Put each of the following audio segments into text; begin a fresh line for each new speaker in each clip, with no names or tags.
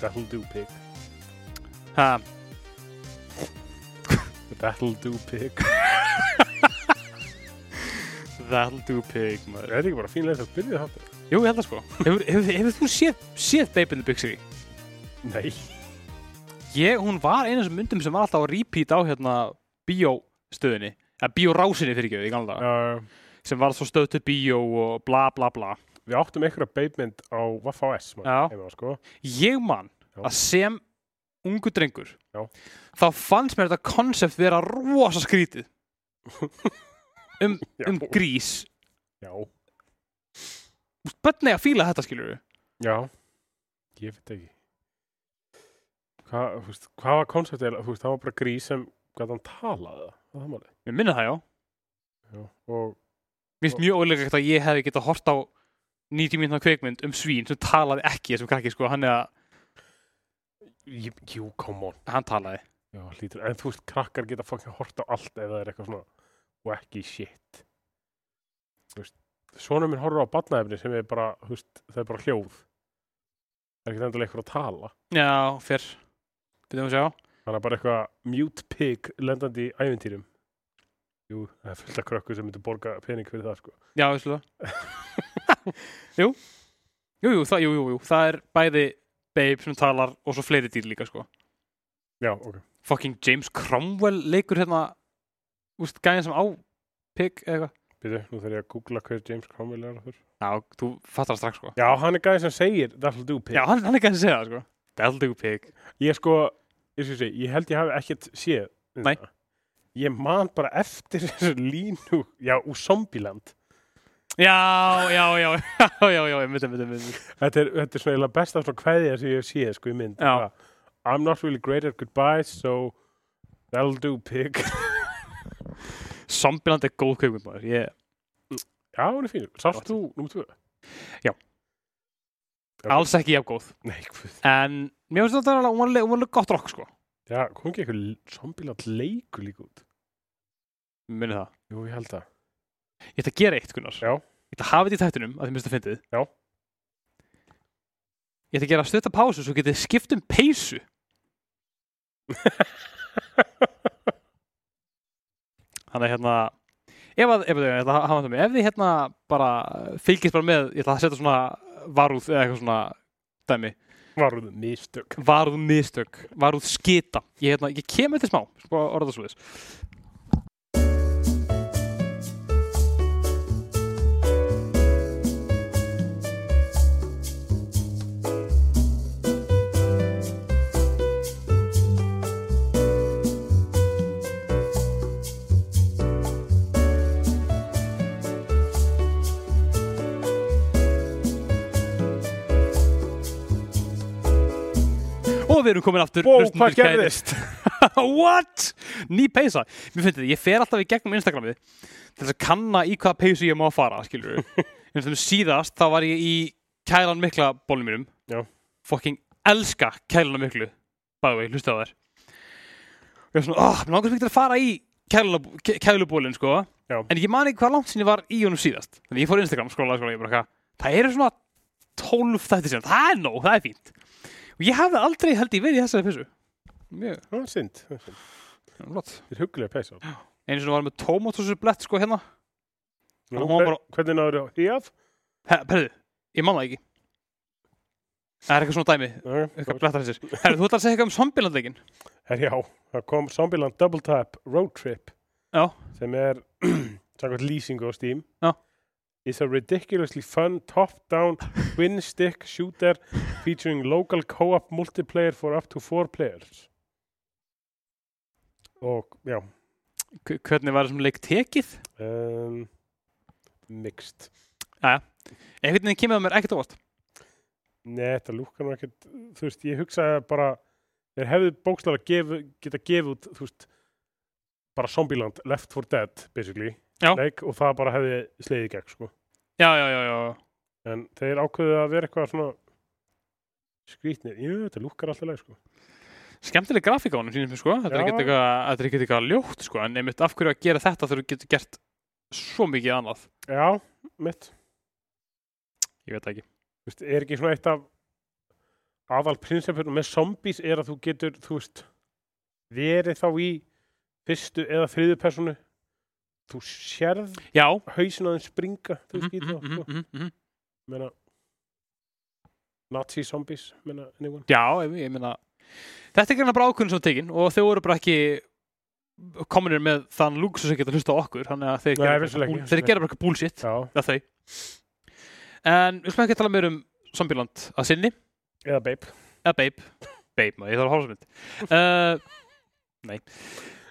That'll do pig
Ha,
That'll do pig
that'll do pig, maður.
Er þetta ekki bara fín leið til að byrja þáttu?
Jú, ég held það sko. Hefur, hefur, hefur þú séð, séð Babe in the Big City?
Nei
Ég, hún var einu af þessum myndum sem var alltaf að repeat á hérna bíóstöðinni. Eða bíórásinni fyrir ekki, ég kannan það.
uh,
Sem var svo stöð til bíó og bla bla bla.
Við áttum einhverja beitmynd á Waffa S
Já.
heima, sko.
Ég man
Já.
að sem ungu drengur,
Já.
þá fannst mér þetta konsept vera rosa skrítið. um,
Já.
um grís.
Já
Bönni að fíla þetta, skilur
Já Ég veit ekki Hvað þú veist, hvað var konceptið? eiginlega? Þú veist, Það var bara grís sem hvað hann talaði Það var það málið
Ég minna það, já.
Já, og
Mér finnst
Og-
mjög ólegrægt að ég hefði getað hort á 90 mínútna kveikmynd um svín sem talaði ekki þessum krakki sko, hann, eða,
Jú, jú, come on
hann talaði.
Já, hlýtur En þú veist, krakkar geta fucking hort á allt ef það er eitthvað svona wacky shit Þú veist Svona minn horfir á batnaefni sem er bara, þú veist, það er bara hljóð Það er ekkert endilega eitthvað að tala
Já, fyrr. Við þum að sjá.
Þannig að bara eitthvað mute pig lendandi í ævintýrum. Jú, það er fullt af krökkur sem myndu borga pening fyrir það, sko.
Já, við slúðum. jú. Jú, jú, það, jú, jú, jú. Það er bæði Babe sem talar og svo fleiri dýr líka sko.
Já, ok.
Fucking James Cromwell leikur hérna, úst, gæðin sem á pig eða eitthvað.
Býtu, nú þarf ég að googla hver James Cromwell er aftur.
Já, þú fattar það strax sko.
Já, hann er gæði sem segir that'll do pig.
Já, hann, hann er gæðin að segja það sko. That'll do pig.
Ég sko, ég skal segja, ég held ég hafi ekkert séð. um
Nei.
það. Ég man bara eftir þessu línu, já, úr Zombieland.
Já, já, já, já, já, já, mitt, mitt, mitt, mitt.
Þetta er, þetta er svona eiginlega besta svona kveðja sem ég hef séð, sko, í mynd.
Já.
Bara, I'm not really great at goodbyes, so that'll do pig.
Zombieland er góð kveikmynd maður ég,
já, hún er fínur. Sást þú, númer tvö? Ok.
alls ekki jafn góð
Nei, hvað?
en mér finnst þetta alveg, hún var alveg- hún var alveg gott rock sko
Já, kom ekki eitthvað zombilat leikur líka út?
minni það,
Jú, ég held það.
ég ætla að gera eitt Gunnar
Já.
ég ætla að hafa þetta í tættunum að þið minnst að fyndið
Já.
ég ætla að gera stutta pásu svo getið skipt um peysu þannig að hérna ef að, ef að, ég ætla að hafa þetta með ef þið hérna bara uh, fylgist bara með ég ætla að setja svona varúð eða eitthvað svona dæmi
Var það mistök.
varúð mistök, varúð skita ég, hérna, ég kem eftir smá, sko orða svo þess og við erum komin aftur
Wow,
hlustendur
hvað
kærir.
gerðist?
What? Ný peysa Mér finnst þetta, ég fer alltaf í gegnum Instagramið til þess að kanna í hvaða peysu ég má að fara skilur við En sem síðast þá var ég í kælan mikla bólum mínum
Já.
Fucking elska kælan miklu Bæði vei, hlusta á þær Ég var svona, oh, mér langar smikt að fara í kælubólin sko
Já.
En ég man ekki hvað langt sinni var í honum síðast Þannig ég fór á Instagram skóla, skóla, ég bara eitthvað Það eru svona 12 þættir sinna, það er nóg, það er fínt Og ég hafði aldrei held ég verið í þessari peysu Mjög,
Það er synd. Það er synd.
flott
Þetta er huggulega peysa.
einu sinni var ég með tómatósublett sko hérna Hún var bara-
Hvernig náður það? Já.
He- Herðu, ég man það ekki Það er eitthvað svona dæmi eitthvað blettar þessir Herðu, þú ætlar að segja eitthvað um zombilandleikin
Her, já, það kom Zombieland Double Tap Road Trip
Já.
sem er, samkvæmt lýsingu á Steam
Já.
It's a ridiculously fun top-down twin-stick shooter featuring local co-op multiplayer for up to four players og, já
K- Hvernig var þessum leik tekið?
um, mixed
Einhvern veginn kemur það mér ekkert óvast
Nei, þetta lúkkar nú ekkert, þú veist, ég hugsaði bara, þeir hefðu bókslega gef, geta gefið út, þú veist, bara Zombieland, Left 4 Dead, basically,
Já.
leik og það bara hefði slegið í gegn, sko.
Já, já, já, já
En þeir ákveðu að vera eitthvað svona skrítnir, jú, þetta lúkkar alltaf leik, sko.
Skemmtileg grafík á honum sínum sko Þetta er
Já.
ekkert eitthvað, þetta er ekkert eitthvað ljótt sko En einmitt af hverju að gera þetta þegar þú getur gert svo mikið annað
Já, mitt,
Ég veit það ekki
þú veist, er ekki svona eitt af aðal prinsipur með zombies er að þú getur, þú veist, verið þá í fyrstu eða þriðu personu þú sérð
Já.
hausin að þeim springa þú
Mhm,
veist, mm
mhm,
-hmm,
mhm, mhm, mhm.
meina Nazi zombies, meina anyone
Já, ég, ég meina Þetta er grann að brákunn sem er tekin og þau voru bara ekki kominir með þann lúksus að geta hlusta á okkur þannig að þeir
Nei,
gera bara
vissulega ekki,
eitthvað búl- þeir
vissulega.
gera bara eitthvað bullshit
Já,
það þau En við skulum ekki tala meir um Zombieland að sinni
eða babe
eða Babe Babe, maður, ég þarf að horfa sem mynd uh, Nei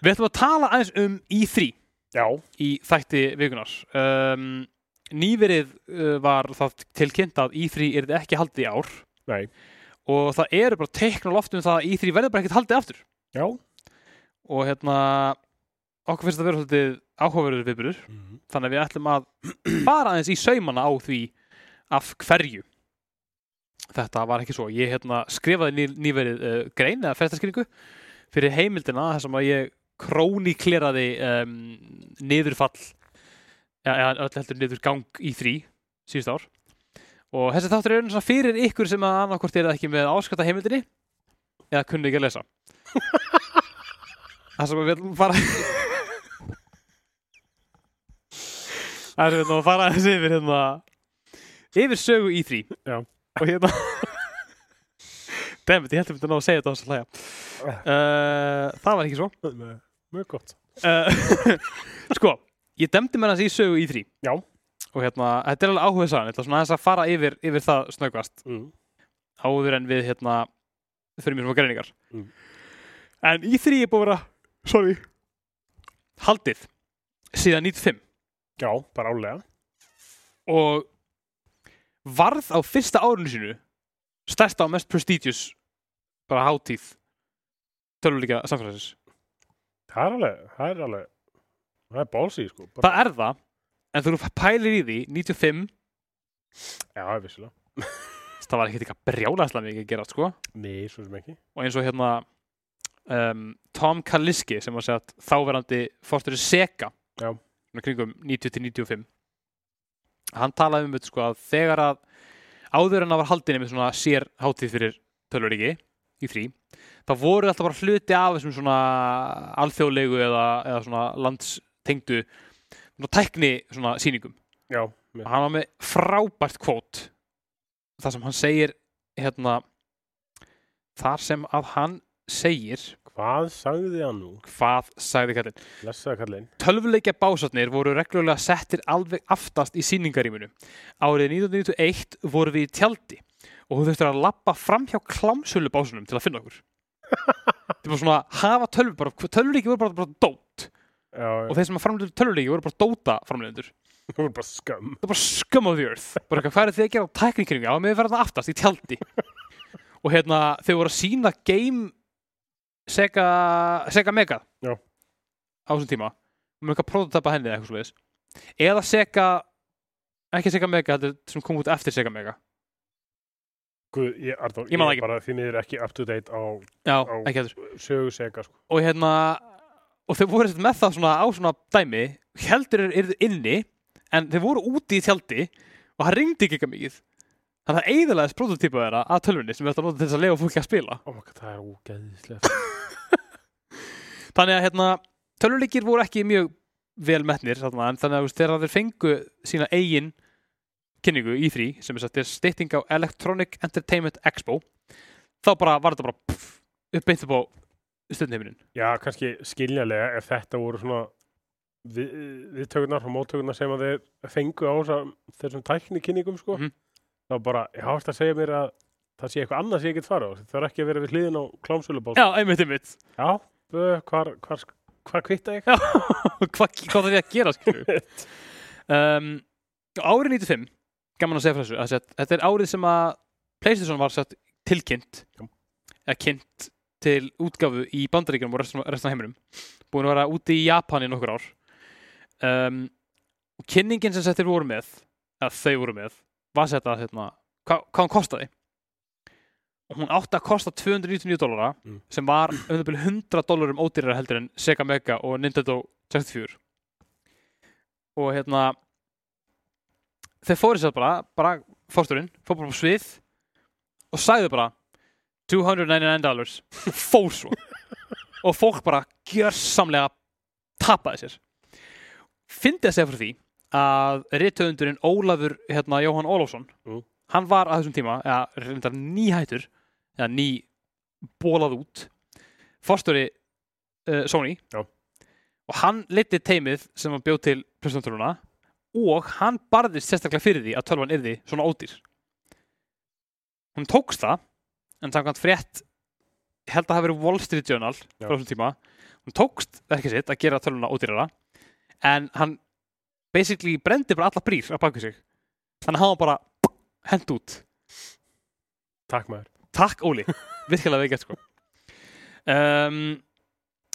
Við ætlum að tala aðeins um E3
Já,
í þætti vikunar um, Nýverið uh, var það tilkynnt að E3 er ekki haldið í ár
nei,
og það eru bara teikna loftum um það að E3 verður bara ekkert haldið aftur
já
og hérna okkur finnst það vera svolítið áhugaverður viðburður
Mhm.
þannig að við ætlum að fara aðeins í saumana á því af hverju þetta var ekki svo ég hérna, skrifaði ný, nýverið uh, grein eða ferðarskringu fyrir heimildina þar sem að ég krónikleraði um, niðurfall ja, eða öll heldur niður gang í þrý síðust ár og þessi þáttur er svona fyrir ykkur sem að annarkvort er ekki með áskata heimildinni eða kunni ekki að lesa það sem að við ætlum að fara Það er hérna að fara aðeins yfir hérna yfir sögu í þrý
Já.
og hérna Dammit, ég held að mynda ná að segja þetta á þess að hlæja
Ah.
uh, Það var ekki svo
Nei, Mjög gott
uh, Sko, ég demdi mér aðeins í sögu í þrý
Já.
Og hérna, þetta er alveg áhuga sagan Þetta er svona aðeins að fara yfir, yfir það snöggvast
mm.
áður en við hérna fyrir mér sem að greiningar
Mm.
En í þrý er búið að vera sorry, haldið síðan 95
Já, bara álega
og varð á fyrsta árinu sínu stærsta og mest prestigious bara hátíð tölvuleika samfélagsins.
Það er alveg, það er alveg Það er bálsý, sko bara,
Það er það en þú pælir í því 95
Já, það er vissilega
það var ekkert eitthvað brjálæslega mikið að gera sko
Nei, svo sem ekki
og eins og hérna um, Tom Kaliski sem var sett þáverandi fórstöru Sega
Já.
svona kringum 90-95 hann talaði um þetta sko að þegar að áður en að var haldinni með svona sér hátíð fyrir tölvöriki í frí þá voru alltaf bara hluti af þessum svona alþjóðlegu eða, eða svona landstengdu svona tækni svona sýningum
Já, Ah. með,
og hann var með frábært kvót þar sem hann segir hérna þar sem að hann segir
hvað sagði hann nú?
hvað sagði kallinn
Lessaði kallinn
tölvuleikja básarnir voru reglulega settir alveg aftast í sýningaríminu árið 1991 voru við í tjaldi og þú þurftir að lappa fram hjá klámsölu básunum til að finna okkur þetta var svona hafa tölvu bara tölvuleiki voru bara, bara dót
Já,
og þeir sem að framlega tölvuleiki voru bara dóta framlegendur
það var bara skam
það er bara scum of the earth bara eitthvað, hvað er þið að gera á tækningkringi á með verðan aftast í tjaldi og hérna, þau voru að sína game Sega, Sega Mega
Já.
á þessum tíma og með eitthvað prototypa henni eða eitthvað svoleiðis eða Sega ekki Sega Mega, þetta er sem kom út eftir Sega Mega
Guð, ég, Arnór,
Ég man það ekki.
bara því miður ekki up to date á
já,
Á.
ekki eftir
sögu sega, sko
og hérna, og þau voru sem sagt með það svona á svona dæmi heldur er, er inni, en þau voru úti í tjaldi og það ringdi ekki eitthvað mikið þannig að það eiginlegaðis prototypa þeirra að tölvunni sem við ætlum að nota til þess að lega fólki að spila
Ó, oh það er ógeðislega
Þannig að hérna, tölvuleikir voru ekki mjög vel metnir þarna, en þannig að þú veist, þegar þeir fengu sína eigin kynningu í þrý, sem er sagt er stytting á Electronic Entertainment Expo þá bara var þetta bara pff, uppbynt upp á stundheiminin
Já, kannski skiljanlega ef þetta voru svona við, viðtökunar og móttökunar sem að þeir fengu á þessa, þessum tæknikynningum sko.
Mhm.
þá bara, ég hafst að segja mér að það sé eitthvað annað sem ég get fara á það er ekki að vera við hliðin á klámsölubáls
Já, einmitt, einmitt
Já, bö, hvar, hvar, hvar kvitta ég?
Já, hvað, hvað það er að gera skilur við? um, Árið 95 gaman að segja frá þessu að sett, þetta er árið sem að Playstation var sett tilkynnt
Já.
eða kynnt til útgafu í bandaríkjum og restan, restan af heiminum búin að vera úti í Japan í nokkur ár um, og kynningin sem settir voru með eða þau voru með var sett að hérna, hva, hvað hún kostaði og hún átti að kosta 299 dólara
Mm.
sem var um það byrju 100 dólarum ódýrara heldur en Sega Mega og Nintendo 64 og hérna þeir fóru sér bara, bara fórsturinn, fór bara á svið og sagði bara $299 fór svo og fólk bara gjörsamlega tapaði sér fyndi að segja fyrir því að rithöfundurinn Ólafur hérna, Jóhann Ólafsson
Jú.
hann var að þessum tíma eða reyndar nýhættur eða ný bólað út fórstöri uh, Sony
Já.
og hann liti teimið sem hann bjóð til presentúruna og hann barðist sérstaklega fyrir því að tölvan yrði svona ódýr hún tókst það en samkvæmt frétt ég held að það hafi verið Wall Street Journal
Já.
frá þessum tíma hún tókst verkið sitt að gera tölvuna ódýrara en hann basically brendi bara alla brýr að baka sig þannig að hann var bara hent út
Takk maður.
Takk Óli, virkilega veikert sko um,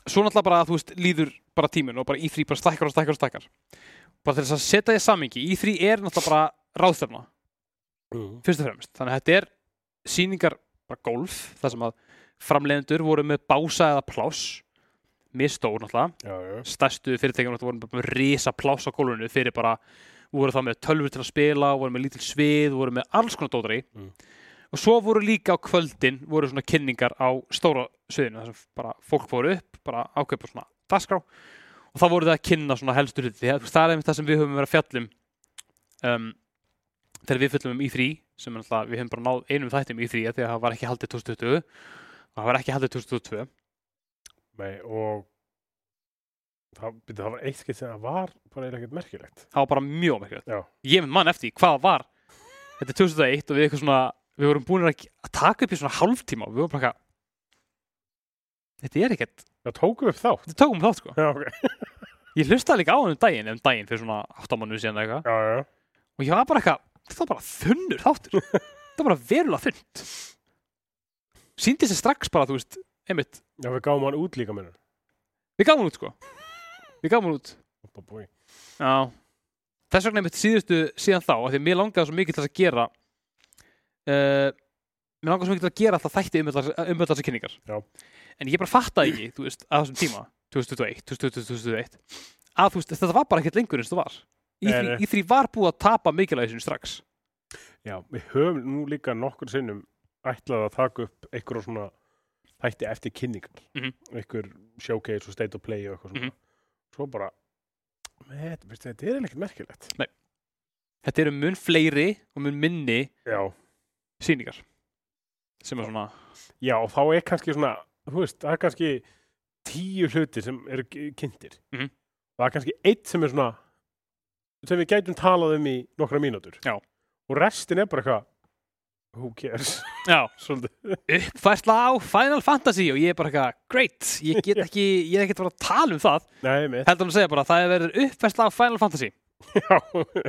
Svo náttúrulega bara að þú veist líður bara tíminn og bara E3 bara stækkar og stækkar og stækkar bara til þess að setja því samingi E3 er náttúrulega bara ráðstefna
Mm.
fyrst og fremst, þannig að þetta er sýningar bara golf, þar sem að framleiðendur voru með bása eða pláss mér stór náttúrulega
Já, já.
stærstu fyrirtækjum voru bara með risa pláss á gólfinu fyrir bara, voru þá með tölvur til að spila, voru með lítil svið, voru með alls konar dótari
Mm.
og svo voru líka á kvöldin, voru svona kynningar á stóra sviðinu, þar sem bara fólk fóru upp, bara ákveður svona dagskrá og þá voru það að kynna svona helstu hluti, Því að, þú veist, það er einmitt það sem við höfum verið að fjallum um, þegar við fjöllum um E3 sem er alltaf, við höfum bara náð einum þættum í E3 af því að það var ekki haldið 2020 og það var ekki haldið 2022
Nei, og það, byrju, það var eitt skeitt sem það var bara eiginlega ekkert merkilegt.
það var bara mjög merkilegt
Já.
ég með mann eftir því hvað var þetta er 2001 og við eitthvað svona við vorum búin að að taka upp í svona hálftíma og við vorum bara eitthvað þetta er ekkert,
Það tókum við upp þátt.
þetta tókum þátt sko
Já, ok.
ég hlustaði líka á hann um daginn, um daginn fyrir svona 8 mánuð síðan eða eitthvað
Já, já.
og ég var bara eitthvað, þetta var bara þunnur þáttur þetta var bara verulega þunnt síndi sér strax bara, þú veist einmitt,
Já, við gáum hann út líka minnum.
við gáum hann út sko við gáum hann út
Já,
Já Þess vegna einmitt síðustu síðan þá af Því að mér langaði svo mikið til þess að gera uh, Mér langaði svo mikið til að gera alltaf þætti um öll þessar- um öll þessar kynningar
Já.
En ég bara fattaði ekki, þú veist, að þessum tíma 2021, 2020, 2021 Að þú veist, þetta var bara ekkert lengur eins og það var Í
Nei,
því,
nei.
í því var búið að tapa mikilvægi sinu strax
við höfum nú líka nokkur sinnum ætlað að taka upp einhverja svona þætti eftir kynningar.
Mhm.
Einhver showcase og state of play og eitthvað svona. Svo bara, með, þetta, veistu, þetta er eiginlega ekkert merkilegt.
Þetta eru mun fleiri og mun minni
Já.
sýningar sem er svona
Já, og þá er kannski svona, þú veist, það er kannski tíu hlutir sem eru k- kynntir.
Mhm.
Það er kannski eitt sem er svona, sem við gætum talað um í nokkra mínútur.
Já.
Og restin er bara eitthvað, who cares,
Já,
svolítið.
uppfærsla á Final Fantasy og ég er bara eitthvað, great, ég get ekki ég er ekkert að fara að tala um það
Nei, mitt.
heldur hann að segja bara að það er verið uppfærsla á Final Fantasy
Já,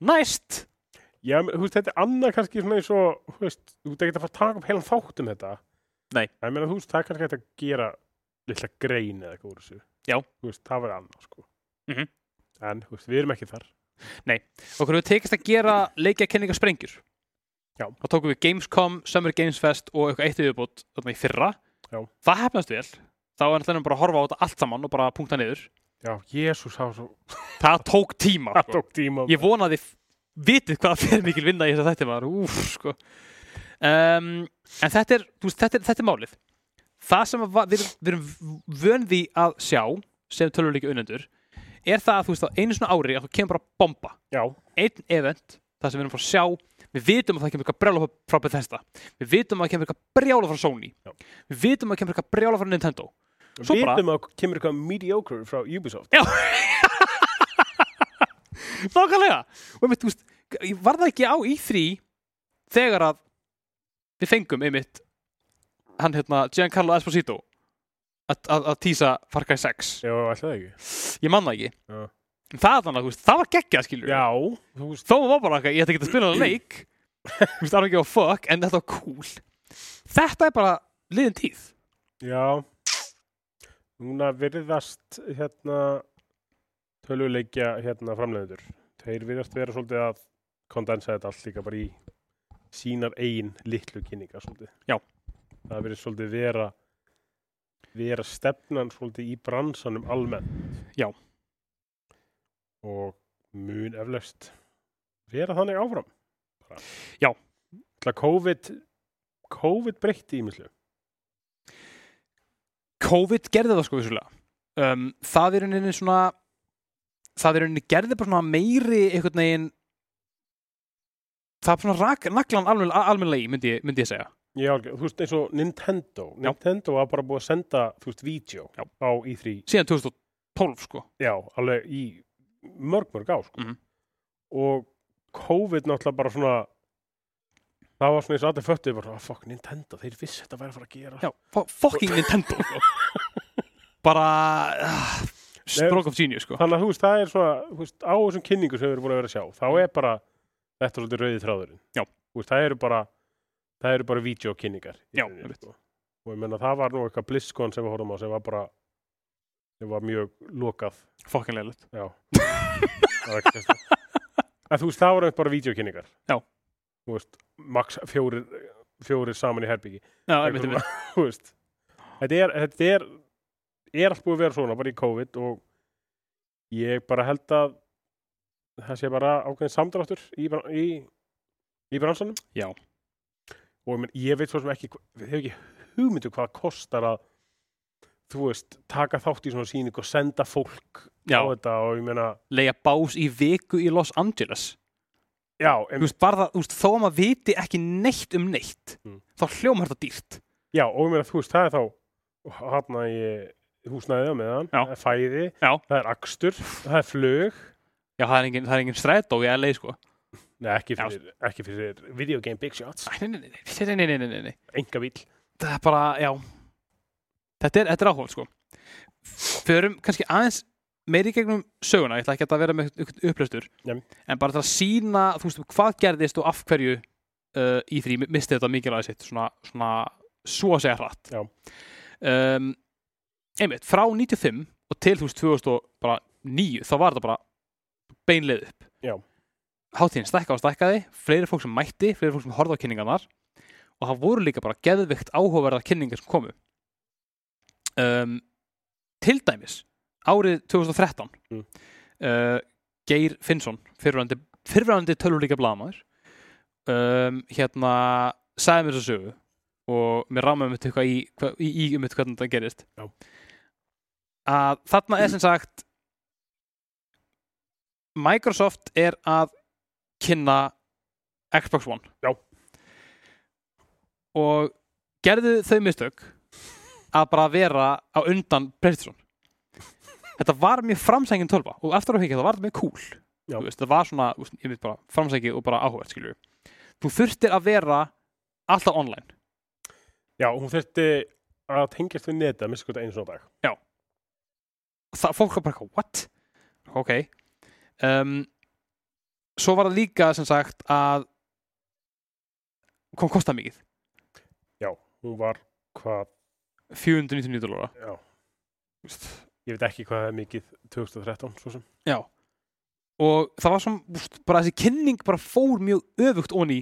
næst
já, men þú veist, þetta er annað kannski svona eins og, þú veist, þú veist, ekki að fara að taka upp heilan þátt um þetta.
Nei.
Það meina, þú veist, það er kannski hægt að gera lilla grein eða eitthvað úr þessu.
Já.
Þú veist, það verður annað, sko.
Mhm.
En, þú veist, við erum ekki þar.
okkur hefur tekist að gera leikja kynninga sprengjur
Já.
þá tókum við Gamescom, Summer Games Fest og eitthvað eitt yfirbútt þarna í fyrra
Já.
það hefnast vel þá er náttúrulega bara að horfa á þetta allt saman og bara punkta niður
Já, Jésús, það var svo,
það tók tíma
það
sko.
tók tíma.
ég vonaði vitið hvað fyrir mikil vinna í þess að þetta var úf, sko. um, en þetta er, þú veist, þetta, er, þetta er málið það sem að va- við, erum- við erum vön því að sjá sem tölvuleiki unnendur er það að þú veist að einu svona ári að þú kemur bara bomba
Já,
einn event, það sem við erum frá að sjá við vitum að það kemur eitthvað brjála frá Bethesda við vitum að það kemur eitthvað brjála frá Sony
Já.
við vitum að það kemur eitthvað brjála frá Nintendo Svo
Svo
bara-
Vitum að kemur eitthvað mediocre frá Ubisoft.
Nákvæmlega Og einmitt, þú veist, var það ekki á E3 þegar að við fengum einmitt hann hérna Giancarlo Esposito að- að að týsa Far Cry 6
Já, alltaf ekki.
Ég man það ekki
Já.
En Það, er þannig, að, þú veist, það var geggjað skilur
Já, þú veist,
Þó var bara eitthvað, ég ætti ekki að spila hann leik Þú veist, það var ekki á fuck, en þetta var cool Þetta er bara liðin tíð
já. Núna virðast hérna tölvuleikja hérna framleiðendur. Þeir virðast vera svolítið að kondensa þetta allt líka bara í sínar eigin litlu kynningar svolítið.
Já.
Það virðist svolítið vera vera stefnan svolítið í bransanum almennt.
Já.
Og mun eflaust vera þannig áfram.
Já.
Það COVID COVID breytti ímislu
COVID gerði það sko vissulega um, það er henni svona það er henni gerði bara svona meiri einhvern veginn það er svona rak, naglan almen, almenlega í myndi, ég- myndi ég segja
Já, algjör- þú veist eins og Nintendo Nintendo var bara búið að senda, þú veist, vídeo
Já.
á E3,
síðan 2012 sko
já, alveg í mörg, mörg á, sko
Mhm.
og COVID náttúrulega bara svona það var svona eins og allir föttuði bara, oh, fuck, Nintendo, þeir vissi þetta væri að fara að gera
Já, fo- fucking Nintendo sko. bara uh, stroke of genius sko
þannig að þú veist, það er svona, þú veist, á þessum kynningu sem við erum búin að vera að sjá, þá er bara þetta er svolítið rauðið þráðurinn
Mm. Já.
Þú veist, það eru bara, það eru bara vídeokynningar í
Já,
rauninni,
einmitt.
sko. og ég menna það var nú eitthvað BlizzCon sem við horfum á sem var bara sem var mjög lokað
fucking leiligt
já Það var ekki þess að þú veist, það voru bara vídeokynningar
Já.
þú veist, max fjórir fjórir saman í herbyggi
Já, einmitt, einmitt.
þú veist þetta er, þetta er er allt búið að vera svona bara í COVID og ég bara held að það sé bara ákveðin samdráttur í, bran- í, í bransanum
Já.
og ég, menn, ég veit svo sem ekki hva- við hefum ekki hugmyndu hvað það kostar að þú veist, taka þátt í svona sýning og senda fólk
Já,
á þetta og ég meina
leiða bás í viku í Los Angeles
já,
Þú
em,
veist, bara það, þú veist, þó að maður viti ekki neitt um neitt
Mm.
þá hljómar þetta dýrt
já, og ég meina þú veist, það er þá hann að ég húsnæðið með hann
Já.
það er fæði,
Já.
það er akstur það er flug
Já, það er engin, það er engin strætó í LA, sko
Nei, ekki
Já.
fyrir, ekki fyrir video game big shots,
Æ, Nei, nei, nei, nei, nei, nei, nei, nei, nei
enga bíl
Það er bara, já Þetta er, þetta er áhugað, sko Förum kannski aðeins meiri í gegnum söguna Ég ætla ekki að þetta vera með einhvern upplöstur
Nei.
En bara til að sína, þú veist, hvað gerðist og af hverju uh, í því misti þetta mikilvæði sitt Svona, svona, svo að segja hratt
Já.
um, Einmitt, frá 95 og til, þú veist, 2009 Þá var þetta bara beinleið upp
Já.
Hátíðin stækka og stækkaði Fleiri fólk sem mætti, fleiri fólk sem horfði á kynningarnar og það voru líka bara geðvikt áhugaverðar kynningar sem komu um, til dæmis árið 2013
Mm.
uh, Geir Finnsson fyrrverandi, fyrrverandi tölvuríka blaðamaður um, hérna sagði mér þessu sögu og mér rámaði um þetta eitthvað í, hva- í, í um þetta hvernig þetta gerist
Já.
að þarna er sem sagt Microsoft er að kynna Xbox One
Já.
og gerðu þau mistök að bara vera á undan Playstation þetta var mjög framsængin tölva og eftir að hekja það var þetta mjög cool
Já.
Þú veist, það var svona, þú veist, ég veit bara framsængið og bara áhugað skilju þú þurftir að vera alltaf online
Já, hún þurfti að tengjast við neta minnst hvað einu svona á dag
það, fólk var bara eitthvað, what? ok um, svo var það líka sem sagt að kom kosta mikið
Hún var hvað,
499 dólar
já Ég veit ekki hvað það er mikið 2013 svo sem
Já Og það var svona, úst, bara þessi kynning bara fór mjög öfugt onni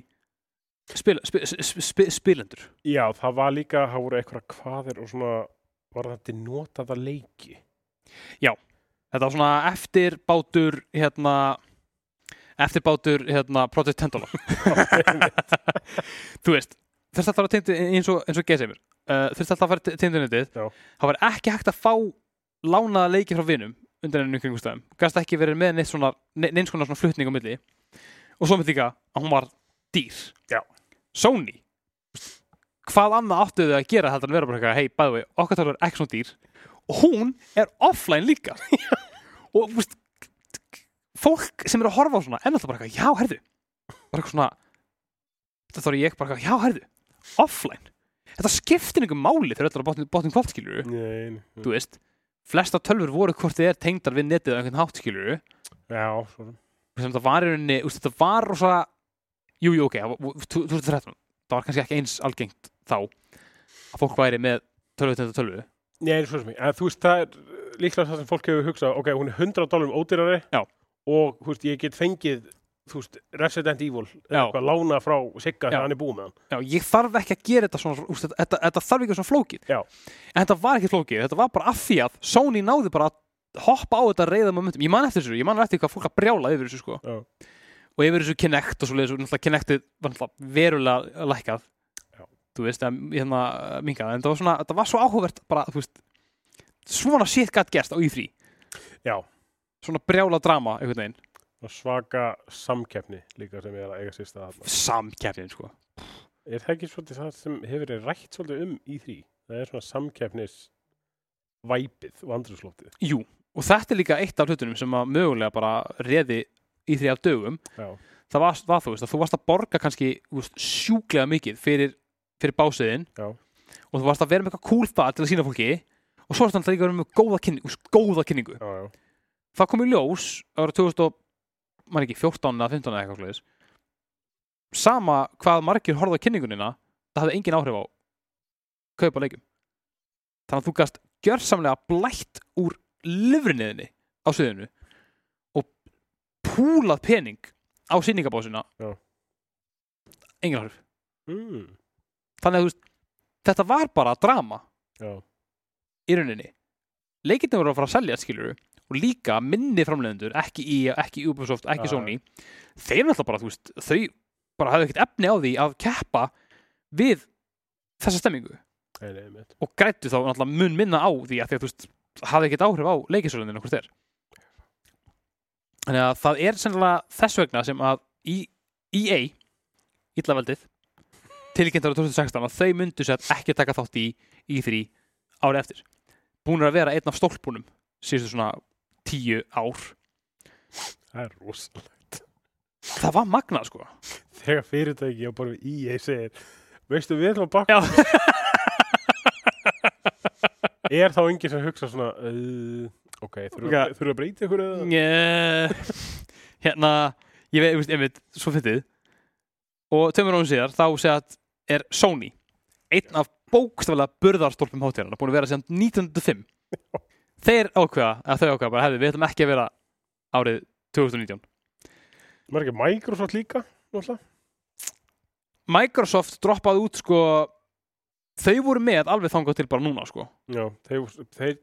spil, spil, spil, spil, spilendur
Já, það var líka, það voru eitthvað hvaðir og svona var þetta notaða leiki
Þetta var svona eftir bátur hérna eftir bátur hérna Project Tendola Þú veist, þurfti alltaf að tindu eins og, eins og geðseimur uh, þurfti alltaf að fara tindunitið
Já.
það var ekki hægt að fá lánaða leiki frá vinum undir ennum kringumstæðum gæst ekki verið með neitt svona ne- neins konar svona flutning á milli og svo með líka að hún var dýr
Já.
Sony hvað annað áttu þau að gera heldur en vera bara eitthvað hei, bæðu við, okkar tölur er ekki svona dýr og hún er offline líka og þú veist, fólk sem er að horfa á svona er alltaf bara eitthvað, já, herðu bara eitthvað svona þetta þarf ég bara eitthvað, já, herðu offline, þetta skiptir einhver máli þegar þetta er að botnum botn kvöldskilur
Nei, nei.
þú veist, flesta tölfur voru hvort þið er tengdar við netið á einhvern háttskilur
Já, svo sem
sem þetta var í rauninni, úst, þetta var rosa jú, jú, ok, það var- þú- 2013 það var kannski ekki eins algengt þá að fólk væri með tölvu tengda tölvu
Nei, svo sem ekki, en þú veist, það er uh, líklega það sem fólk hefur hugsað, ok, hún er 100 dólarum ódýrari
Já.
og, þú veist, ég get fengið þú veist, Resident Evil
Já.
eitthvað lána frá Sigga
Já.
þegar hann er búið með hann
Já, ég þarf ekki að gera þetta svona úst, þetta, þetta, þetta þarf ekki að vera svona flókið
Já.
en þetta var ekki flókið, þetta var bara af því að Sony náði bara að hoppa á þetta reyða momentum, ég man eftir þessu, ég man eftir hvað fólk að brjála yfir þessu sko
Já.
og yfir þessu Kinect og svo leiðis og náttúrulega Kinectið var náttúrulega verulega lækkað
Já.
þú veist, að, hérna, minga, en það var svona, það var svo áhugavert bara, þú veist, svona shit gætt gerst á Y3,
Já.
svona brjála drama, einhvern veginn,
og svaka samkeppni líka sem er að eiga sér stað þarna.
samkjærfin, sko.
Er það ekki svolítið það sem hefur verið rætt svolítið um í því? Það er svona samkeppnis væpið og andrúslótið.
Jú, og þetta er líka eitt af hlutunum sem að mögulega bara reði Y3 af dögum,
Já.
það var, var þú veist að þú varst að borga kannski þú veist, sjúklega mikið fyrir, fyrir básiðin
Já.
og þú varst að vera með eitthvað cool það til að sína fólki og svo varst þannig líka að vera með góða kynningu, þú veist, góða kynningu.
Já, já.
Það kom í ljós ára 2014 eða 15 eða eitthvað sliðis sama hvað margir horfðu á kynningunina það hafði engin áhrif á kaupa leikum þannig að þú gast gjörsamlega blætt úr lifrinniðinni á sviðinu og púlað pening á sýningabásina
Já.
engin áhrif
Mm.
þannig að þú veist, þetta var bara drama
Já.
í rauninni leikirnir voru að fara að selja skilur og líka minni framleiðendur ekki í, ekki Ubisoft, ekki
Já,
Sony þeir náttúrulega bara, þú veist, þau bara hafðu ekkert efni á því að keppa við þessa stemmingu
Nei, nei, mitt.
og grættu þá náttúrulega mun minna á því að því að þú veist, hafði ekkert áhrif á leikisölundin okkur þér þannig að það er sennilega þess vegna sem að í E EA illaveldið tilkynntar á 2016 að þau myndu sér ekki taka þátt í E3 ári eftir búnir að vera einn af stólpunum síðustu svona tíu ár
Það er rosalega.
það var magnað sko
Þegar fyrirtæki og bara í ég E segir, veistu við ætlum að bakka.
Já.
er þá enginn sem hugsa svona, uh, ok, þurfum
Já.
að, þurfum að breyta ykkur eða?
Né, hérna ég veit, ég veist, einmitt, svo fyndið og tveimur árum síðar þá segjað er Sony einn af bókstaflega burðarstólpum hátíðarna búin að vera síðan 1905 þeir ákveða, eða þau ákveða bara hefði, við ætlum ekki að vera árið 2019
Var ekki Microsoft líka, náttúrulega?
Microsoft droppaði út sko þau voru með alveg þangað til bara núna sko
Já, þeir, þeir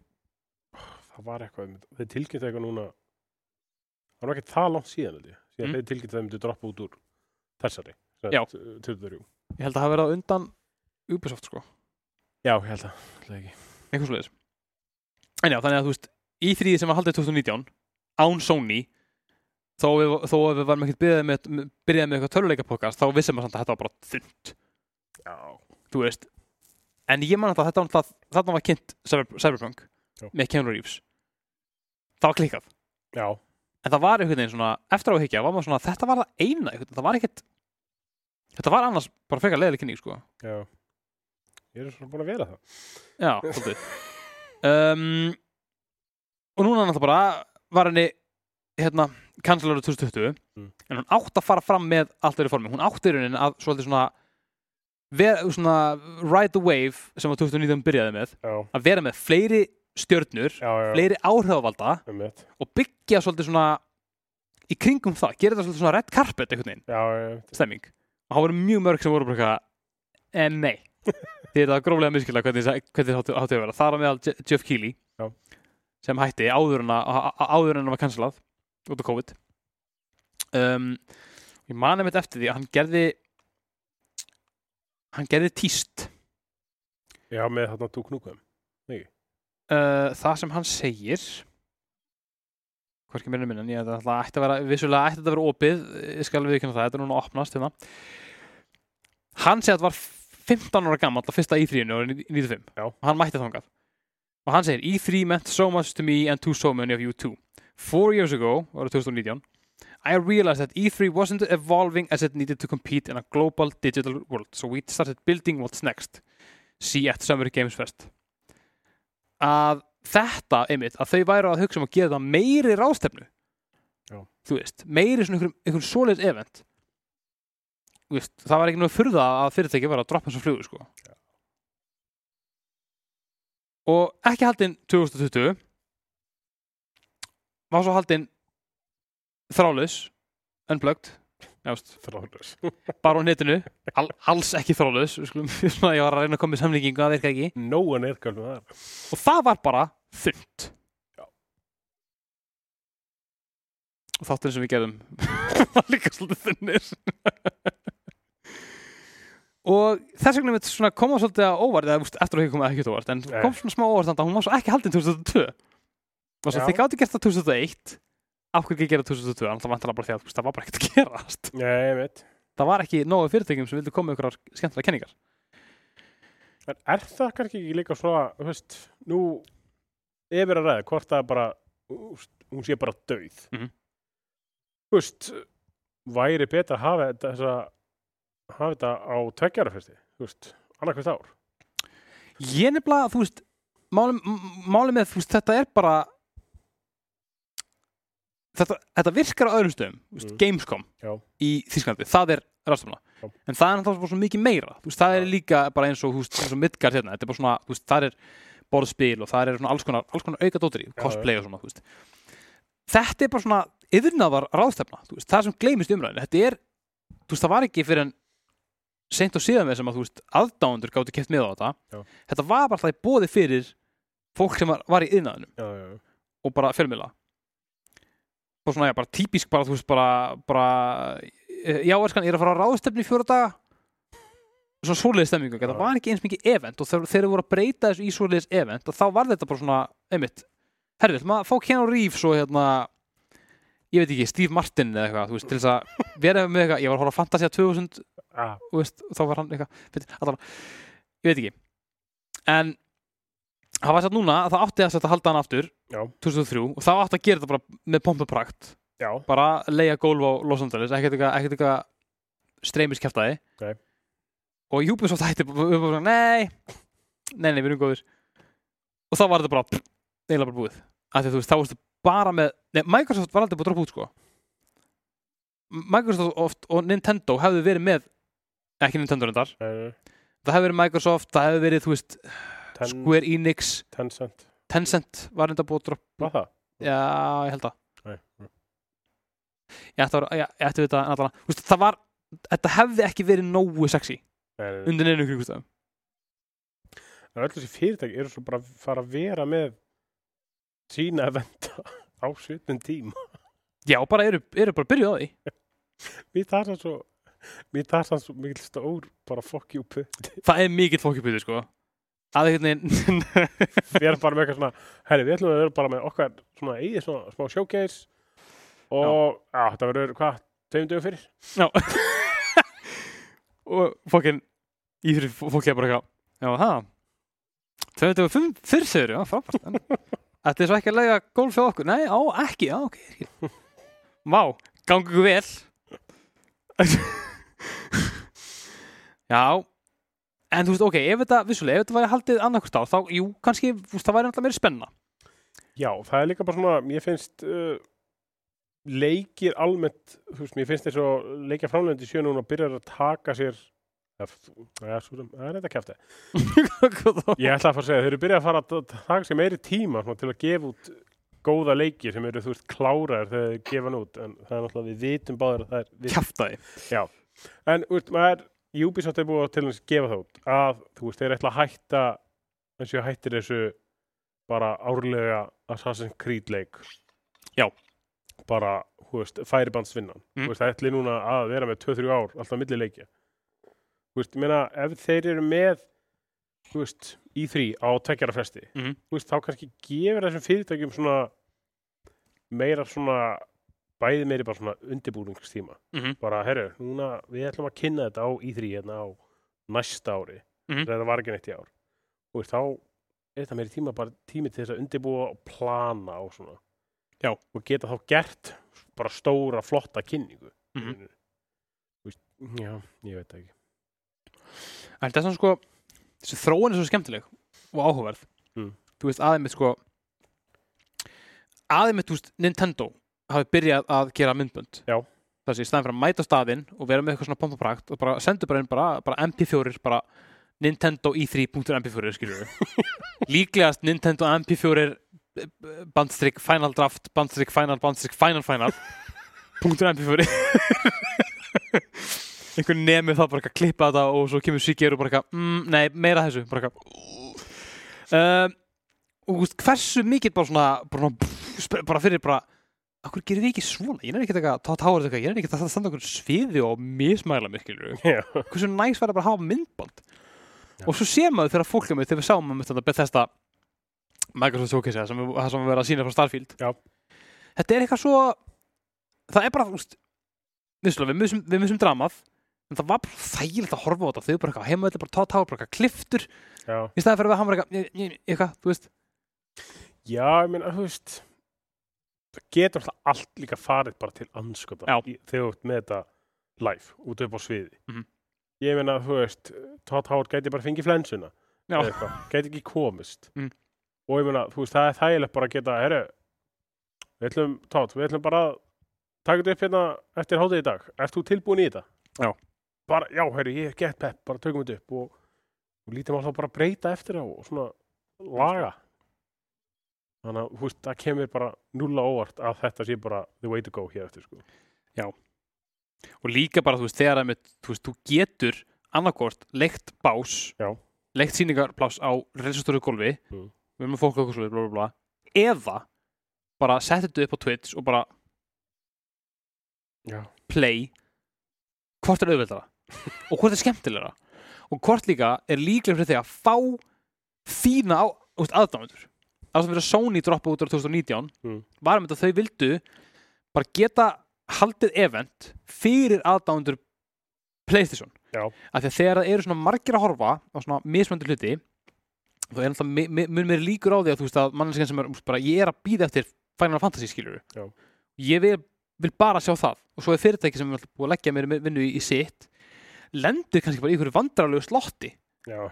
það var eitthvað, um- þeir tilkynntu eitthvað núna það var ekki það langt síðan held ég, síðan
Mm.
þeir tilkynntu að þeir myndu droppa út úr þessari, eh,
Já.
23
ég held að það hafi verið á undan Ubisoft sko
Já, ég held að, held að ekki
eitthvað svoleiðis en já, þannig að þú veist, í þrýði sem var haldið 2019 án Sony þó að við, þó að við varum ekkert byrjað með, byrjað með eitthvað töluleika podcast þá vissum maður samt að þetta var bara þund
Já,
þú veist, en ég man að þetta var náttúrulega- þarna var kynnt Cyber, Cyberpunk
Já.
með Keanu Reeves það var klikkað,
já,
en það var einhvern veginn svona, eftir á að higgja, var maður svona þetta var það eina, einhvern veginn, það var ekkert þetta var annars bara frekar leiðileg kynning sko.
já Ég er svona búin að vera það
Já, svolítið um, Og núna náttúrulega bara var henni hérna, kanslur 2020
Mm.
en hún átt að fara fram með allt öðru formi hún átti í rauninni að svolítið svona, ver, svona ride the wave sem að 2019 byrjaði með
Já,
að vera með fleiri stjörnur
já, já,
fleiri áhrifavalda
um mitt
og byggja svolítið svona í kringum það, gera þetta svolítið svona red carpet einhvern veginn,
Já, já, já,
stemming og það voru mjög mörg sem voru bara eitthvað en nei því er það gróflega miskila hvernig þetta átti átti að vera þar á meðal Je- Jeff Keighley
Já.
sem hætti áður en að á- á- áður en að var cancelað út af COVID um, ég mani mitt eftir því að hann gerði hann gerði tíst
já með þarna tú knúkum
uh, það sem hann segir hvorki minni minni en ég ætla að ætti að vera vissulega ætti þetta að vera opið ég skal við það, þetta er núna að opnast hérna hann segir að var 15 ára gammal að fyrsta E3-inu árið 95
Já.
og hann mætti þangað og hann segir E3 meant so much to me and to so many of you too four years ago, árið 2019 I realized that E3 wasn't evolving as it needed to compete in a global digital world so we started building what's next see at Summer Games Fest að þetta einmitt, að þau væru að hugsa um að gera það meiri ráðstefnu
Já.
þú veist, meiri svona einhverjum, einhverjum svoleiðs event Þú veist, það var ekki nú að furða að fyrirtæki var að droppa eins og flugur sko og ekki haldinn 2020 var svo haldinn þrálaus unplugged jást,
Þráðlaus
bara á netinu Al, alls ekki þrálaus við skulum- svona, ég var að reyna að koma með samlíkingu það virka ekki
No one er gælum þar
og það var bara þund
Já.
og þátturinn sem við gerðum var líka svolítið þunnir og þess vegna mitt svona koma svolítið að óvart eða úst, eftir að ég kom ekki óvart en
Nei.
kom svona smá óvart þannig að hún var svo ekki haldin 2002 og svo
Já.
þið gátu gert það 2001 af hverju ekki gera 2002 þannig að það vantar bara því að úst, það var bara ekkert að gerast
Nei, ég veit.
það var ekki nógu fyrirtækjum sem vildi koma með ykkur skemmtilega kenningar
En er það kannski ekki líka svona, þú veist, nú ef er að ræða hvort það er bara, úst, hún sé bara döið.
Mhm.
Þú veist, væri betra að hafa þetta, þessa, hafa þetta á tveggjara fyrsti, þú veist, annarkvæmst ár.
ég nefnilega, þú veist máli, máli með, þú veist, þetta er bara þetta, þetta virkar á öðrum stöðum þú veist,
Mm.
Gamescom
Já.
í Þísklandi, það er ráðstofna
Já.
en það er náttúrulega svo mikið meira þú veist, það er
Já.
líka bara eins og, þú veist, eins og Midgard hérna, þetta er bara svona, þú veist, það er borðspil og það er svona alls konar, alls konar auka dóttir
já.
cosplay og svona, þú veist þetta er bara svona yfirnaðar ráðstefna þú veist, það sem gleymist í umræðinu, þetta er þú veist, það var ekki fyrir en seint og síðan með sem að þú veist aðdáendur gáttu keft með á þetta
Já.
þetta var bara það í bóði fyrir fólk sem var, var í yðnaðinu
Já, já, já.
og bara fjölmiðla bara svona, já, bara típisk bara, þú veist, bara, bara eh, já, elskan, ég er að fara á ráðstefni í fjóra daga svona svoleiðis stemmingu þetta
Já.
var ekki eins mikið event og þegar þeir voru að breyta þessu í svoleiðis event að þá var þetta bara svona, einmitt herrið, ætlum að fá Keanu Reeves og hérna ég veit ekki, Steve Martin eða eitthvað, þú veist, til þess að vera með eitthvað, ég var að horfa að Fantasia 2000
Ah,
og veist, þá var hann eitthvað fyrir, allan, ég veit ekki en það var satt núna að það átti að setja að halda hann aftur
já,
2003 og þá átti að gera þetta bara með pomp og prakt
já,
bara leiða gólf á Los Angeles ekkert eitthvað, ekkert eitthvað streymis kæftæði
Nei.
og Ubisoft hætti bara- við bara svona, nei, nei, nei, við erum góðir og þá var þetta bara neila bara búið að því að þú veist, þá varstu bara með nei, Microsoft var aldrei búið að droppa út sko Microsoft og Nintendo hefðu verið með ekki Nintendo reyndar,
uh,
það hefði verið Microsoft það hefði verið, þú veist,
ten,
Square Enix
Tencent,
Tencent var reyndar búið að droppa
hvað það?
já, ég held að
Nei, nei.
ég ætti að vera- ég- ég ætti að vita en allavega, þú veist, það var þetta hefði ekki verið nógu sexy
Nei, nei, nei.
undir neinu kringustöðum
En öll þessi fyrirtæki eru svo bara að fara að vera með sína eventa á svipnum tím.
já, bara eru, eru bara byrjuð á því
Mér það er svo, mér það er svo mikil stór, bara fokk jú putti.
það er mikill fókjupýti, sko að einhvern veginn
við erum bara með eitthvað svona herri, við ætlum að vera bara með okkar svona eigið svona smá showcase og já, þetta verður hvað, tveim dögum fyrir
já og fókinn í fyrir fókja bara eitthvað já, það 25 fyrr segir já, frábært en þetta er svo ekki að lega gólf hjá okkur nei, á, ekki, já, ok ég skil. vá, gangi ykkur vel já en þú veist, ok, ef þetta, vissulega, ef þetta væri haldið annarkvist á, þá, jú, kannski, þú veist, það væri alltaf meira spenna
já, það er líka bara svona, mér finnst uh, leikir almennt þú veist, mér finnst þess að leikja framlegandi sjö núna og byrjar að taka sér Ja, þú- það er svo sem- það er þetta kæfti ég ætla að fara að segja, þeir eru byrjað að fara að ta- ta- taka sér meiri tíma svona, til að gefa út góða leiki sem eru, þú veist, klárar þegar þeir gefa hann út, en það er náttúrulega við vitum báður að það er, við
kjaftaði
En úrst, maður, Ubisoft er búið að til hans gefa það út að þú veist, þeir ætla að hætta eins og hættir þessu bara árlega Assassin's Creed leik
Já.
bara, þú veist, færibandsvinnan
Mm.
þú veist, það ætli núna að vera með 2-3 ár alltaf milli leikja þú veist, ég meina, ef þeir eru með þú veist, í þrý á tveggjara fresti,
Mhm.
þú veist, þá kannski gefur þessum fyrirtækjum svona meira svona bæði meiri bara svona undirbúningstíma
Mhm.
bara, herru, núna við ætlum að kynna þetta á í3 hérna á næsta ári
Mhm.
þegar það var ekki neitt í ár og veist, þá er þetta meiri tíma bara tími til þess að undirbúa og plana og svona
Já.
og geta þá gert bara stóra flotta kynningu
Mhm.
Þú veist, já, ég veit það ekki
En þess að sko, þessi þróun er svo skemmtileg og áhugaverð.
Mm.
Þú veist, aðeimitt sko, aðeimitt, þú veist, Nintendo hafi byrjað að gera myndbönd.
Já.
Þessi, í staðin fyrir að mæta á staðinn og vera með eitthvað svona pompa prakt og bara sendu bara inn bara, bara MP4, bara Nintendo E i3.mp4, skilur við. Líklegast Nintendo MP4 eh, bandstrykk, final draft, bandstrykk, final, bandstrykk, final, final punktur MP4 einhver nemi það bara eitthvað að klippa þetta og svo kemur Sigur og bara eitthvað mm, nei, meira af þessu bara eitthvað um, og þú veist, hversu mikið bara svona bara, svona, bara fyrir bara okkur gerir við ekki svona, ég nefnir ekki að taka tátáður eitthvað, ég nefnir ekki að standa okkur sviði og mismæla mér, skilur
Já.
hversu næs var að bara hafa myndband
Já.
og svo sé maður þegar fólk er með þegar við sáum með þetta Bethesda Microsoft Showcase eða sem við, það sem við verðum að sína frá Starfield
Já.
þetta er eitthvað svo það er bara, úst, vissulega, við missum, við missum dramað en það var bara þægilegt að horfa á þetta þau bara eitthvað heima þetta bara tátáður, bara eitthvað kliftur
Já.
í staði fyrir að hafa bara eitthvað, né- né- eitthvað, þú veist
Já, ég meina, þú veist það getur alltaf allt líka farið bara til anskota
Já.
í- þegar þú ert með þetta live út upp á sviði
Mhm.
ég meina, þú veist Todd Howard gæti bara fengið flensuna
Já.
eða eitthvað, gæti ekki komist
Mm.
og ég meina, þú veist, það er þægilegt bara að geta herru, við ætlum Todd, við ætlum bara að taka þetta upp hérna eftir hátíð í dag, ert þú tilbúin í þetta?
Já.
bara, já, herru, ég er gett pepp, bara tökum þetta upp og, og lítum alltaf bara að breyta eftir á og svona laga þannig að, þú veist, það kemur bara nulla óvart að þetta sé bara the way to go hér eftir, sko
og líka bara, þú veist, þegar að mitt, þú veist, þú getur annarkort leikt bás
Já.
leikt síningarpláss á reisastóru gólfi
Mm.
við erum að fólk okkur svo bla, bla, bla, eða bara setja þetta upp á Twitch og bara
já,
play hvort er auðveldara og hvort er skemmtilegra og hvort líka er líklega fyrir þig að fá þína á, úst, aðdámendur það sem fyrir að Sony droppa út á 2019
Mm.
var með þetta að þau vildu bara geta haldið event fyrir aðdámendur Playstation
Já.
af því að þegar það eru svona margir að horfa á svona mismöndu hluti þá er alltaf mi- mi- mun mér líkur á því að þú veist að manneskinn sem er úst, bara ég er að býða eftir Final Fantasy skilur
Já.
ég vil vil bara sjá það og svo er fyrirtæki sem er alltaf búið að leggja mér vinnu í, í sitt lendur kannski bara í einhverju vandrarlegu slotti
já,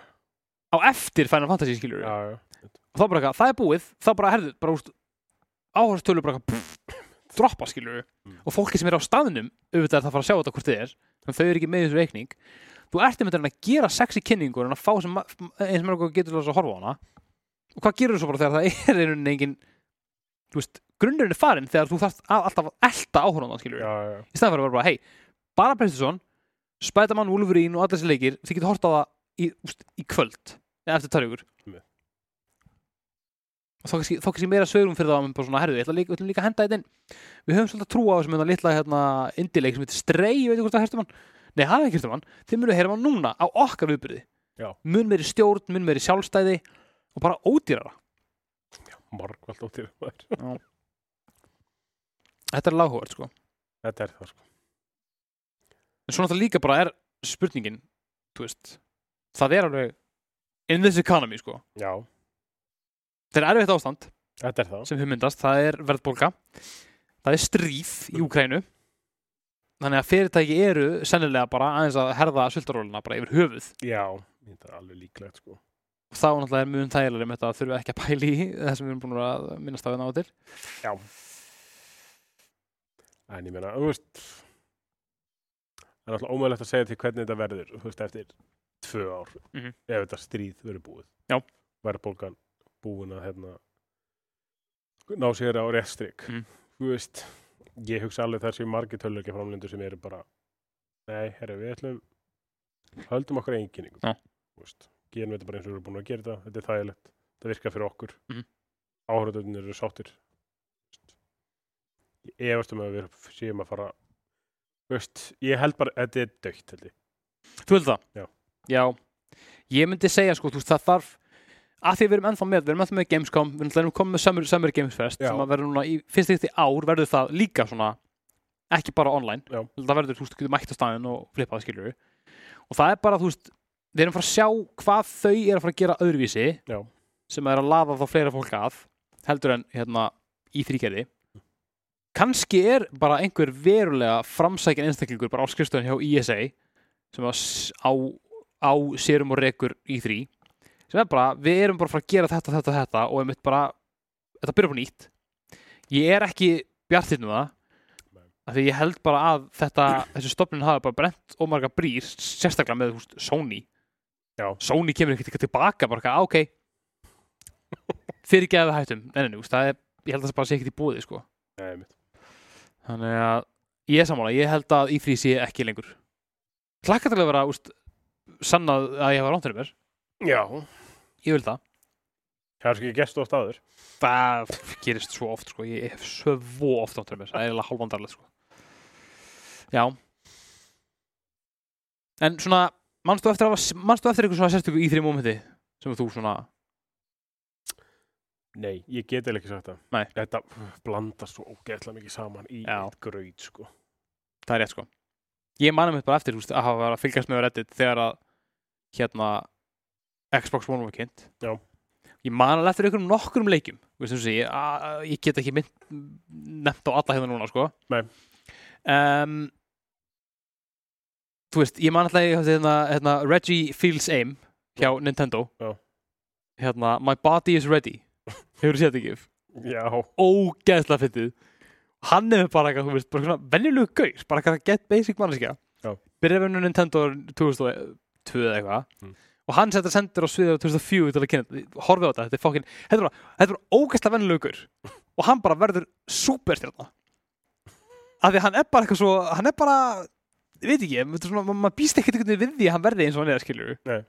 á eftir Final Fantasy skilur
já, já.
og þá bara eitthvað, það er búið, þá bara herðu bara úst, áherstölu bara eitthvað pff, droppa skilur
Mm.
og fólki sem er á staðnum auðvitað er það að fara að sjá þetta hvort þið er en þau eru ekki með í þessu reikning þú ert einmitt að reyna að gera sexy kynningur en að fá sem, ma- eins og maður getur til þess að horfa á hana og hvað gerur þú svo bara þegar það er einhvern veginn þú veist, grunnurinn er farinn þegar þú þarft að, alltaf að elta áhorfandan skilur
já, já,
í staðan fyrir að vera bara, hei, bara Playstation Spiderman, Wolverine og allar þessi leikir þið getur hort á það í, úst, í kvöld eða eftir törjugur
Einmitt.
og þá kannski, þá kannski meira sögurum fyrir það að bara svona, herðu, ég ætla líka, ég ætla líka að henda þetta inn við höfum svolítið að trúa á þessum hérna litla hérna, indileik sem heitir Stray, ég veit ekki hvort það herstu mann nei, það er ekki herstu mann, þið munu að herra mann núna á okkar viðbyrði,
Já.
mun meiri stjórn mun meiri sjálfstæði og bara ódýrara
margvald óttir
þetta er lághúvert, sko
þetta er það, sko
en svona það líka bara er spurningin þú veist, það er alveg in this economy sko
já,
það er erfitt ástand
þetta er það
sem hugmyndast, það er verðbólka það er stríð í Úkrænu þannig að fyrirtæki eru sennilega bara aðeins að herða sultaróluna bara yfir höfuð
já, þetta er alveg líklegt, sko
og þá náttúrulega er mjög þægilega með þetta að þurfa ekki að pæli í það sem við erum búin að vera að minnast á þetta á og til
Já. en ég meina, þú veist það er alltaf ómögulegt að segja til hvernig þetta verður, þú veist, eftir tvö ár,
Mhm.
ef þetta stríð verður búið
Já.
verðbólgan búin að hérna ná sér á restrik
Mhm.
þú veist, ég hugsa alveg þar sem margir tölvöki framlendur sem eru bara nei, herra, við ætlum höldum okkur einkynningum
Já.
þú veist, gerum þetta bara eins og við erum búin að gera þetta þetta er þægilegt, það virkar fyrir okkur
Mhm.
áhörðunir eru sáttir ég efast um að við séum að fara þú veist, ég held bara þetta er dögt held ég,
Þú heldur það?
Já.
Já, ég myndi segja sko, þú veist, það þarf að því við erum ennþá með, við erum ennþá með Gamescom við erum ennþá komið með Summer, Summer Games Fest
Já.
sem að verður núna, í fyrst eitt í ár verður það líka svona, ekki bara online
Já.
það verður, þú veist, getur mætt á staðin og flippað skilur við, og það er bara, þú veist við erum að fara að sjá hvað þau er að fara að gera öðruvísi,
Já.
sem er að laða þá fleira fólk að, heldur en hérna, í þrýgerði kannski er bara einhver verulega framsækjan einstaklingur bara á skrifstofan hjá E ISA sem að s- á, á sérum og rekur í þrý sem er bara, við erum bara að fara að gera þetta, þetta, þetta og einmitt bara, þetta byrjar upp á nýtt ég er ekki bjartinn um það
Nei.
af því ég held bara að þetta, þessi stofnin hafi bara brent og marga brýr, sérstaklega með húst, Sony
Já.
Sony kemur ekkert eitthvað tilbaka, bara eitthvað, "Ah, ok fyrir geða hættum nei, nei, nei, þú veist, það er, ég held að það bara sé ekkert í búið sko.
Nei, mitt.
þannig að ég er sammála, ég held að í þrý sé ekki lengur klakka til að vera úst, sannað að ég hefa rántur um mér
já,
ég vil það
kannski gest oft aður
það gerist svo oft sko. ég hef svo oft áttur mér það er eiginlega hálfandarlega sko. já en svona manstu eftir, að hafa- manstu eftir eitthvað svona sérstöku í þrjum mómenti sem þú svona
Nei, ég get eða ekki sagt það
Nei.
Þetta blandast svo ógeðslega mikið saman í
Já.
eitt gröyt sko
það er rétt sko ég manum þetta bara eftir þú veist, að hafa verið að fylgjast með Reddit þegar að hérna Xbox One var kynnt
Já.
ég man alveg eftir einhverjum nokkrum leikjum þú veist, þú veist, ég, að- að- ég get ekki mynd, nefnt á alla hérna núna sko
Nei.
um, þú veist ég man alltaf hérna, hérna, Reggie Feels Aim hjá Nintendo
Já.
hérna My Body is Ready hefur séð þetta ekki
Já,
ógeðslega fyndið hann er bara eitthvað, þú veist, bara svona venjulegu gaur, bara eitthvað get basic manneskja
Já.
byrjaði með Nintendo árið 2002 eða eitthvað
Mm.
og hann setja sendur á sviðið á 2004 til að kynna, horfið á þetta, þetta er fokkin þetta er bara, þetta er bara ógeðslega venjulegu gaur og hann bara verður superstjarna af því að hann er bara eitthvað svo hann er bara, ég veit ekki þetta er svona, ma- maður býst ekkert einhvern veginn við því að hann verði eins og hann er skiljur
Nei.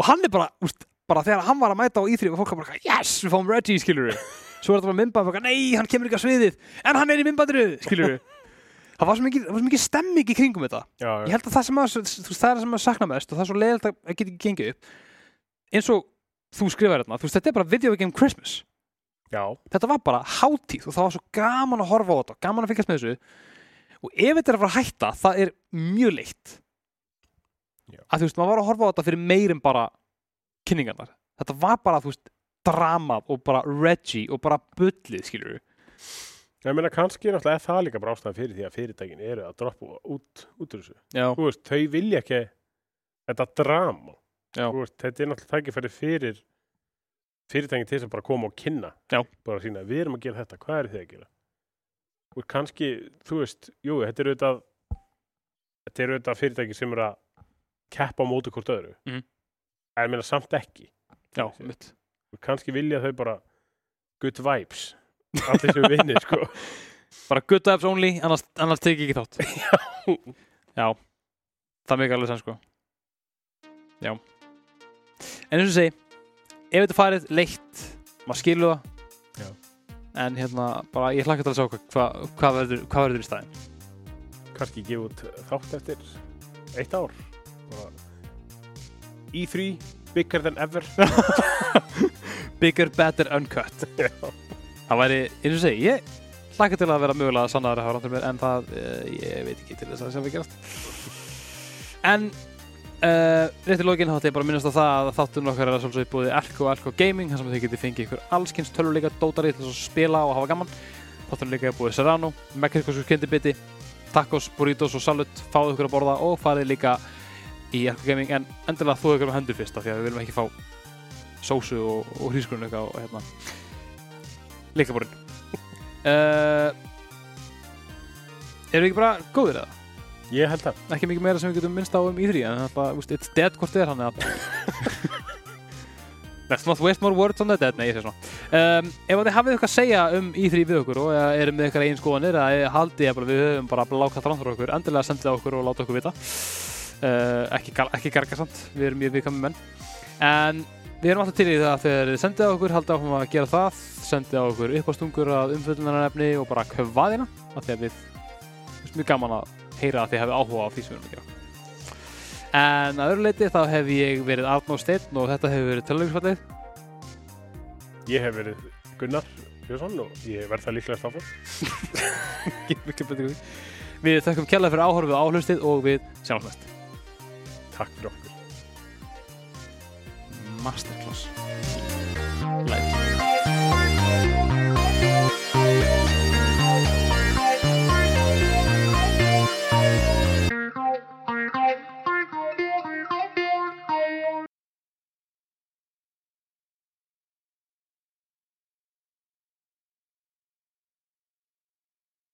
og hann er bara, úst, bara þegar hann var að mæta á íþrif og fólk var bara, eitthvað, yes, við fáum Reggie skiljur svo er þetta bara myndband og eitthvað, nei, hann kemur ekki á sviðið en hann er í myndbandinu, skilur við það var svo mikið, það var svo mikið stemming í kringum þetta
já,
ég held að það sem að, þú veist, það er það sem að sakna mest og það er svo leiðilegt að það geti ekki gengið upp eins og þú skrifar hérna þú veist, þetta er bara video game Christmas
já,
þetta var bara hátíð og það var svo gaman að horfa á þetta, gaman að fylgjast með þessu og ef þetta er að fara að hætta, það er mjög leitt
Já.
að þú veist, maður var að horfa á þetta fyrir meir en bara kynningarnar, þetta var bara þú veist, drama og bara Reggie og bara bullið, skilur
Ég meina kannski er náttúrulega það líka bara ástæðan fyrir því að fyrirtækin eru að droppa út, út úr þessu
Já,
Þú veist, þau vilja ekki þetta drama
Já.
Þú veist, Þetta er náttúrulega tækifæri fyrir fyrirtækin til þess að bara koma og kynna
Já.
bara sína, við erum að gera þetta, hvað eru þið að gera og kannski, þú veist jú, þetta eru auðvitað þetta eru auðvitað fyrirtæki sem eru að keppa á móti hvort öðru
Mhm.
en ég meina samt ekki
já, mitt
og kannski vilja þau bara good vibes allir sem við vinnir sko
Bara good vibes only, annars, annars tekið ekki þátt Já Það er mikið alveg sann sko Já En eins og ég segi, ef þetta er farið leitt, maður skilur það
Já.
En hérna, bara ég hlakka til að sjá hvað hva, hva verður, hva verður í staðinn
kannski gefa út þátt eftir eitt ár Bara E3 bigger than ever
Bigger, better, uncut
Já.
Það væri, eins og ég segi, ég hlakka til að vera mögulega sannar að hafa ráttur mér En það, uh, ég veit ekki til þess að sem við gerast En Uh, rétt í lokin hátti ég bara að minnast á það að þáttunum okkar er að svolítið búið Elko og Elko Gaming þar sem þið getið fengið ykkur allskins töluleika dótari til þess að spila og hafa gaman þáttunum líka er búið Serrano, Mexikos kendibiti tacos, burritos og salut fáðu ykkur að borða og farið líka í Elko Gaming en endilega þú ykkur með hendur fyrst af því að við viljum ekki fá sósu og, og hrísgrunum ykkur og hérna líka borinn uh, Erum við ekki bara góðir eða?
ég held að
ekki mikið meira sem við getum minnst á um íþrí en það er it's dead hvort þið er hann eða Let's not waste more words on the dead Nei, ég sé svona um, Ef þið hafið eitthvað að segja um íþrí við okkur og eða erum með eitthvað einn skoðanir eða haldið að við höfum bara blákað fram fyrir okkur endilega sendið það okkur og láta okkur vita uh, ekki, gal- ekki garga samt við erum mjög viðkvæmi menn en við erum alltaf til í það þegar þið sendið á okkur haldið áfram að gera það sendið á okkur uppástungur að umfjöldunarnefni og bara höfaðina af því að við, við erum mjög gaman að heyra að þið hefði áhuga á því sem við erum að gera en að öðru leiti þá hef ég verið Arnó Steinn og þetta hefur verið töluleikisfallið
ég hef verið Gunnar Björnsson og ég verð það líklegast áfram
við þökkum kjærlega fyrir áhorfið og áhlustið og við sjáum næst
takk fyrir okkur
Masterclass